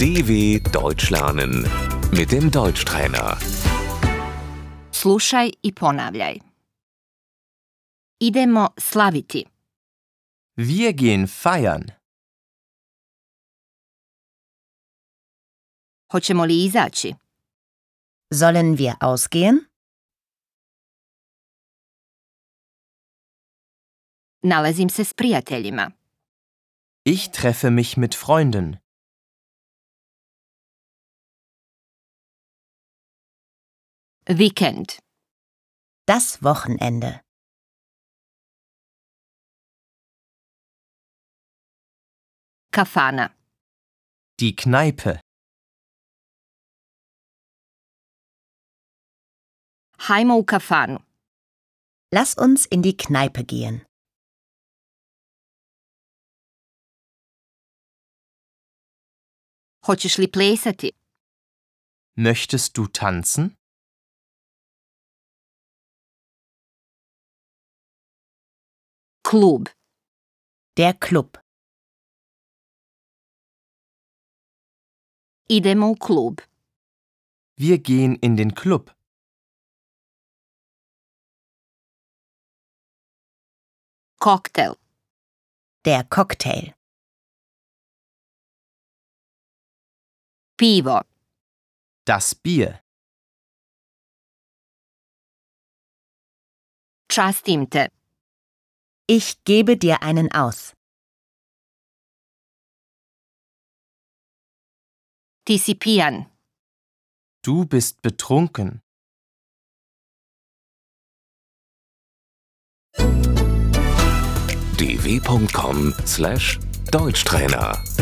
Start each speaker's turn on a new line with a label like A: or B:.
A: DW Deutsch lernen mit dem Deutschtrainer.
B: Slušaj i ponavljaj. Idemo slaviti.
C: Wir gehen feiern.
B: Hoćemo li izaći?
D: Sollen wir ausgehen?
B: Nalazim se s prijateljima.
C: Ich treffe mich mit Freunden.
B: Vikend.
D: Das Wochenende.
B: Kafana.
C: Die Kneipe.
B: Hajmo u kafanu.
D: Lass uns in die Kneipe gehen.
B: Hoćeš li plesati?
C: Möchtest du tanzen?
B: Klub.
D: Der Club.
B: Idemo u klub.
C: Wir gehen in den Club.
B: Koktel.
D: Der Cocktail.
B: Pivo.
C: Das Bier.
B: Častim te.
D: Ich gebe dir einen aus.
B: Ti si pijan.
C: Du bist betrunken.
A: dw.com/deutschtrainer